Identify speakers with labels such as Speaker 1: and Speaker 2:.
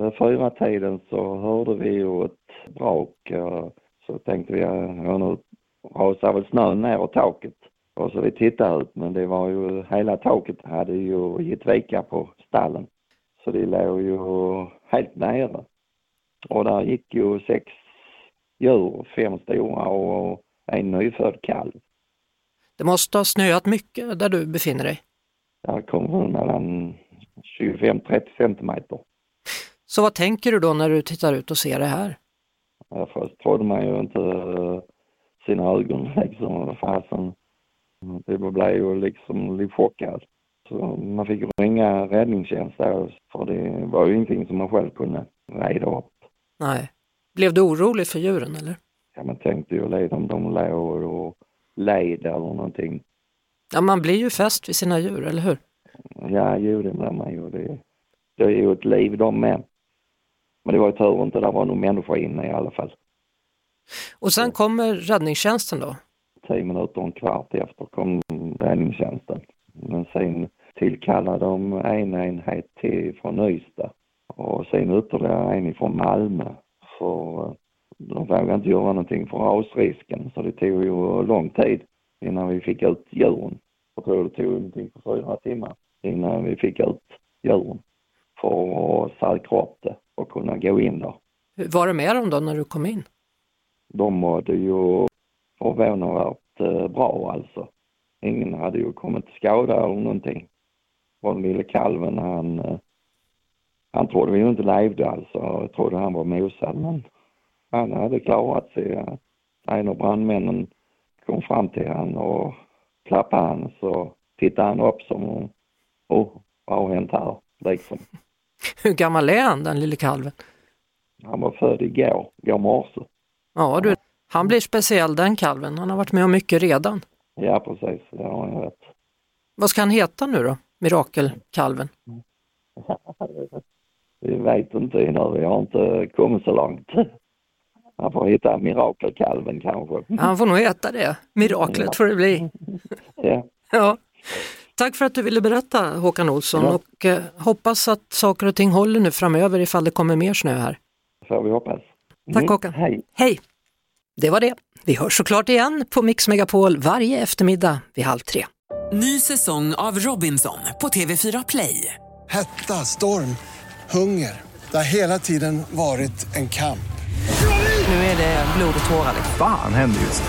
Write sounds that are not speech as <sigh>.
Speaker 1: Vid fyra tiden så hörde vi ju ett brak. eh, Så tänkte vi, eh, ja nu rasar väl snön ner och taket. Och så vi tittade ut, men det var ju, hela taket hade ju gett vika på stallen. Så det låg ju helt nere. Och där gick ju sex djur, fem stora och en nyfödd kalv.
Speaker 2: Det måste ha snöat mycket där du befinner dig.
Speaker 1: Där kom hon mellan 25-30 centimeter.
Speaker 2: Så vad tänker du då när du tittar ut och ser det här?
Speaker 1: Ja, Först trodde man ju inte eh, sina ögon <laughs> liksom. vad Fasen. Det blev ju liksom lite chockad. Så man fick ringa räddningstjänst där, för det var ju ingenting som man själv kunde reda upp.
Speaker 2: Nej. Blev du orolig för djuren eller?
Speaker 1: Ja, man tänkte ju lite om de låg och led eller någonting.
Speaker 2: Ja, man blir ju fäst vid sina djur, eller hur?
Speaker 1: Ja, jo, det blev man ju. Det, det är ju ett liv de med. Men det var ju tur inte, där var nog människor inne i alla fall.
Speaker 2: Och sen kommer räddningstjänsten då.
Speaker 1: tio minuter och en kvart efter kom räddningstjänsten. Men sen tillkallade de en enhet till från Ystad och sen ytterligare en från Malmö. För eh, de vågade inte göra någonting för rasrisken så det tog ju lång tid innan vi fick ut djuren. Jag tror det tog någonting på fyra timmar innan vi fick ut djuren för att säkra upp det och kunna gå in där.
Speaker 2: Hur var det med dem då när du kom in? <laughs>
Speaker 1: De mådde ju förvånansvärt eh, bra alltså. Ingen hade ju kommit till skada eller någonting. Och den lille kalven han, eh, han trodde vi ju inte levde alltså. Jag trodde han var mosad men han hade klarat sig. eh. En av brandmännen kom fram till han och klappade han så tittade han upp som om, oh, vad har hänt här? Liksom.
Speaker 2: Hur gammal är han, den lille kalven?
Speaker 1: Han var född igår, igår morse.
Speaker 2: Ja du, han blir speciell den kalven. Han har varit med om mycket redan.
Speaker 1: Ja precis, det har jag rätt.
Speaker 2: Vad ska han heta nu då? Mirakelkalven?
Speaker 1: Vi vet inte ännu, vi har inte kommit så långt. Man får hitta
Speaker 2: <laughs>
Speaker 1: mirakelkalven kanske.
Speaker 2: Han får nog heta det. Miraklet får det bli.
Speaker 1: Ja,
Speaker 2: Ja. Tack för att du ville berätta Håkan Olsson
Speaker 1: Ja.
Speaker 2: och eh, hoppas att saker och ting håller nu framöver ifall det kommer mer snö här.
Speaker 1: får vi hoppas.
Speaker 2: Tack
Speaker 1: Mm,
Speaker 2: Håkan.
Speaker 1: Hej.
Speaker 2: Hej! Det var det. Vi hörs såklart igen på Mix Megapol varje eftermiddag vid halv tre.
Speaker 3: Ny säsong av Robinson på TV4 Play.
Speaker 4: Hetta, storm, hunger. Det har hela tiden varit en kamp.
Speaker 3: Nu är det blod och tårar.
Speaker 5: Fan händer just nu.